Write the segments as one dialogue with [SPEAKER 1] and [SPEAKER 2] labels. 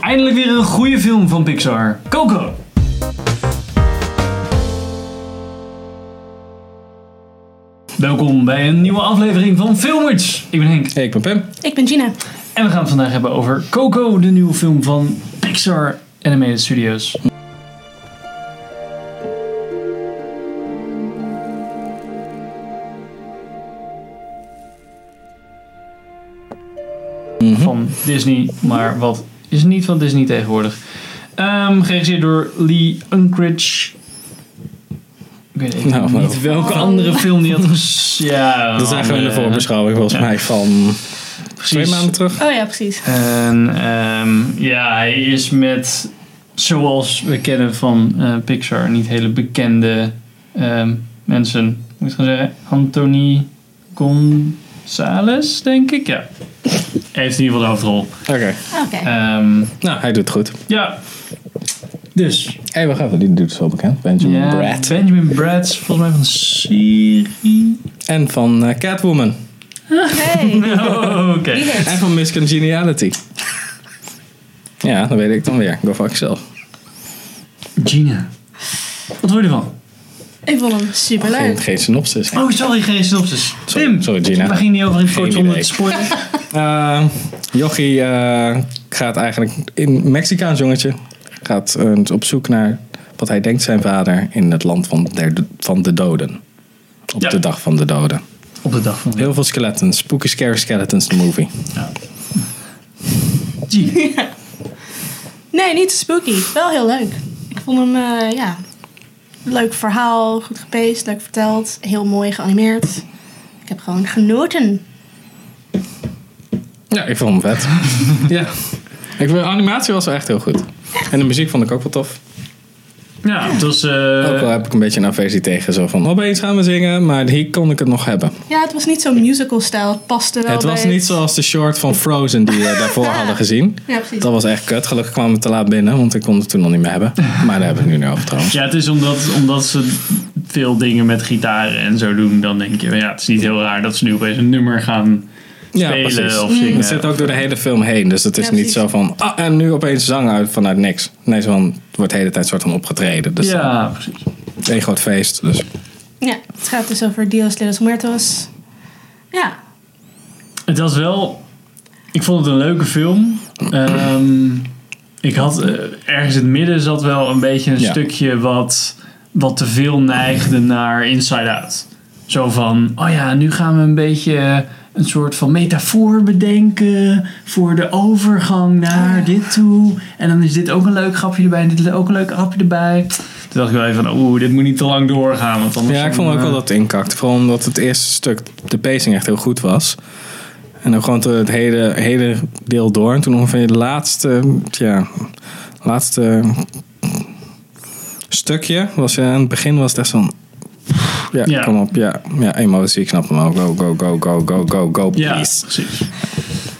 [SPEAKER 1] Eindelijk weer een goede film van Pixar. Coco. Welkom bij een nieuwe aflevering van Filmers. Ik ben Henk.
[SPEAKER 2] Hey, ik ben Pim.
[SPEAKER 3] Ik ben Gina.
[SPEAKER 1] En we gaan het vandaag hebben over Coco, de nieuwe film van Pixar Animated Studios.
[SPEAKER 2] Mhm.
[SPEAKER 1] Van Disney, maar wat is niet van Disney tegenwoordig? Ehm geregisseerd door Lee Unkrich. Ik weet even
[SPEAKER 2] Nou,
[SPEAKER 1] niet welke andere film die had ges- Ja,
[SPEAKER 2] Dat zagen we in de
[SPEAKER 1] andere-
[SPEAKER 2] voorbeschouwing volgens
[SPEAKER 1] Ja.
[SPEAKER 2] mij van twee
[SPEAKER 1] Precies.
[SPEAKER 2] maanden terug.
[SPEAKER 3] Oh ja, precies.
[SPEAKER 1] En ehm, ja, hij is met, zoals we kennen van eh, Pixar, niet hele bekende ehm, mensen. Moet ik het gaan zeggen? Anthony Gonzalez, denk ik. Ja. Hij heeft in ieder geval de hoofdrol.
[SPEAKER 2] Oké.
[SPEAKER 3] Oké.
[SPEAKER 1] Ehm,
[SPEAKER 2] Nou, hij doet het goed.
[SPEAKER 1] ja. Dus.
[SPEAKER 2] Hé, hey, wacht even. Die doet het wel bekend. Benjamin
[SPEAKER 1] Ja,
[SPEAKER 2] Bratt.
[SPEAKER 1] Benjamin Bratt, is volgens mij van de serie.
[SPEAKER 2] En van eh, Catwoman.
[SPEAKER 3] Hey,
[SPEAKER 1] Oh, oké.
[SPEAKER 3] die
[SPEAKER 2] En
[SPEAKER 3] heeft.
[SPEAKER 2] van Miss Congeniality. ja, dat weet ik dan weer. Go fuck yourself.
[SPEAKER 1] Gina. Wat hoor je ervan?
[SPEAKER 3] Ik vond hem
[SPEAKER 2] Geen,
[SPEAKER 3] superleuk.
[SPEAKER 2] geen synopsis.
[SPEAKER 1] Oh, sorry, geen synopsis.
[SPEAKER 2] Sorry-
[SPEAKER 1] Tim,
[SPEAKER 2] sorry, Gina.
[SPEAKER 1] waar ging die over in het
[SPEAKER 2] Geen
[SPEAKER 1] kort onder
[SPEAKER 2] idee.
[SPEAKER 1] het spoiler?
[SPEAKER 2] Eh, Jochie eh, gaat eigenlijk in Mexicaans jongetje gaat eh, op zoek naar wat hij denkt zijn vader in het land van de, van de doden. Op
[SPEAKER 1] Ja.
[SPEAKER 2] de dag van de doden.
[SPEAKER 1] Op de dag van de
[SPEAKER 2] Heel veel skeletons. Spooky Scary Skeletons, de movie.
[SPEAKER 1] Gee.
[SPEAKER 3] Nee, niet spooky. Wel heel leuk. Ik vond hem, eh, ja, leuk verhaal, goed gepaced, leuk verteld, heel mooi geanimeerd. Ik heb gewoon genoten.
[SPEAKER 2] Ja, ik vond hem vet. ja. Ik, vond- animatie was wel echt heel goed. En de muziek vond ik ook wel tof.
[SPEAKER 1] Ja, het was... eh,
[SPEAKER 2] ook al heb ik een beetje een aversie tegen. Zo van, opeens gaan we zingen, maar hier kon ik het nog hebben.
[SPEAKER 3] Ja, het was niet zo'n musical-stijl. Het paste wel
[SPEAKER 2] het was
[SPEAKER 3] bij
[SPEAKER 2] niet zoals de short van Frozen die we daarvoor hadden gezien.
[SPEAKER 3] Ja, precies.
[SPEAKER 2] Dat was echt kut. Gelukkig kwamen we te laat binnen, want ik kon het toen nog niet meer hebben. Maar daar hebben we het nu over trouwens.
[SPEAKER 1] ja, het is omdat, omdat ze veel dingen met gitaren en zo doen. Dan denk je, ja, het is niet heel raar dat ze nu opeens een nummer gaan spelen of zingen.
[SPEAKER 2] Het zit ook door de hele film heen. Dus het is
[SPEAKER 3] Ja,
[SPEAKER 2] niet
[SPEAKER 3] precies.
[SPEAKER 2] zo van, ah, en nu opeens zang uit vanuit niks. Nee, zo van, het wordt de hele tijd soort van opgetreden. Dus
[SPEAKER 1] Ja, precies.
[SPEAKER 2] één groot feest. Dus.
[SPEAKER 3] Ja, het gaat dus over Dios de los Muertos. Ja,
[SPEAKER 1] Het was wel... Ik vond het een leuke film. Ehm, ik had... eh, ergens in het midden zat wel een beetje een
[SPEAKER 2] Ja.
[SPEAKER 1] stukje wat, wat te veel neigde naar Inside Out. Zo van, oh ja, nu gaan we een beetje een soort van metafoor bedenken voor de overgang naar dit toe. En dan is dit ook een leuk grapje erbij en dit ook een leuk grapje erbij. Toen dacht ik wel even van, oeh, dit moet niet te lang doorgaan. Want anders eh,
[SPEAKER 2] Ja, ik vond ook wel dat het inkakt. Vooral omdat het eerste stuk, de pacing echt heel goed was. En dan gewoon te- het hele, hele deel door. En toen ongeveer de laatste, ja, laatste stukje was eh, aan het begin was het echt zo'n... Ja,
[SPEAKER 1] Ja.
[SPEAKER 2] kom op. Ja, ja, emotie. Ik snap hem al. Go, go, go, go, go, go, go,
[SPEAKER 1] Ja,
[SPEAKER 2] please.
[SPEAKER 1] precies.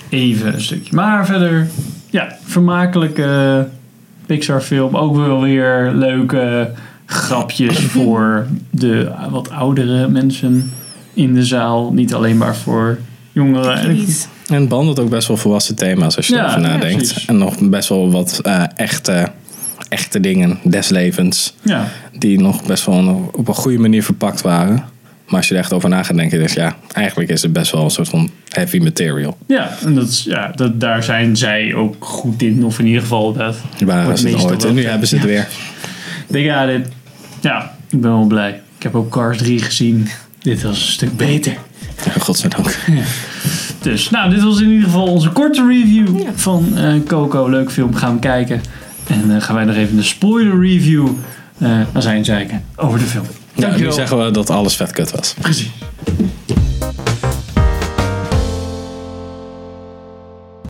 [SPEAKER 1] Even een stukje. Maar verder, ja, vermakelijke Pixar-film. Ook wel weer leuke grapjes voor de wat oudere mensen in de zaal. Niet alleen maar voor jongeren. En ik-
[SPEAKER 3] iets.
[SPEAKER 2] En het behandelt ook best wel volwassen thema's als je
[SPEAKER 1] Ja,
[SPEAKER 2] erover
[SPEAKER 1] ja,
[SPEAKER 2] nadenkt.
[SPEAKER 1] precies.
[SPEAKER 2] en nog best wel wat eh, echte, echte dingen des levens.
[SPEAKER 1] Ja,
[SPEAKER 2] die nog best wel op een goede manier verpakt waren. Maar als je er echt over na gaat denken, denk je, ja, eigenlijk is het best wel een soort van heavy material.
[SPEAKER 1] ja, en dat, is- ja dat, daar zijn zij ook goed in. Of in ieder geval dat.
[SPEAKER 2] Waren
[SPEAKER 1] Wordt
[SPEAKER 2] ze het
[SPEAKER 1] meestal
[SPEAKER 2] ooit
[SPEAKER 1] wel-
[SPEAKER 2] en nu hebben ze het weer.
[SPEAKER 1] They got it. Ja, ik ben wel blij. Ik heb ook Cars 3 gezien. Dit was een stuk beter.
[SPEAKER 2] Godzijdank.
[SPEAKER 1] Dus, nou, dit was in ieder geval onze korte review
[SPEAKER 3] Ja.
[SPEAKER 1] van eh, Coco. Leuk film, gaan we kijken. En eh, gaan wij nog even de spoiler review eh aan zijn zeiken over de film.
[SPEAKER 2] Ja,
[SPEAKER 1] Dankjewel.
[SPEAKER 2] nu zeggen we dat alles vet kut was.
[SPEAKER 1] Precies.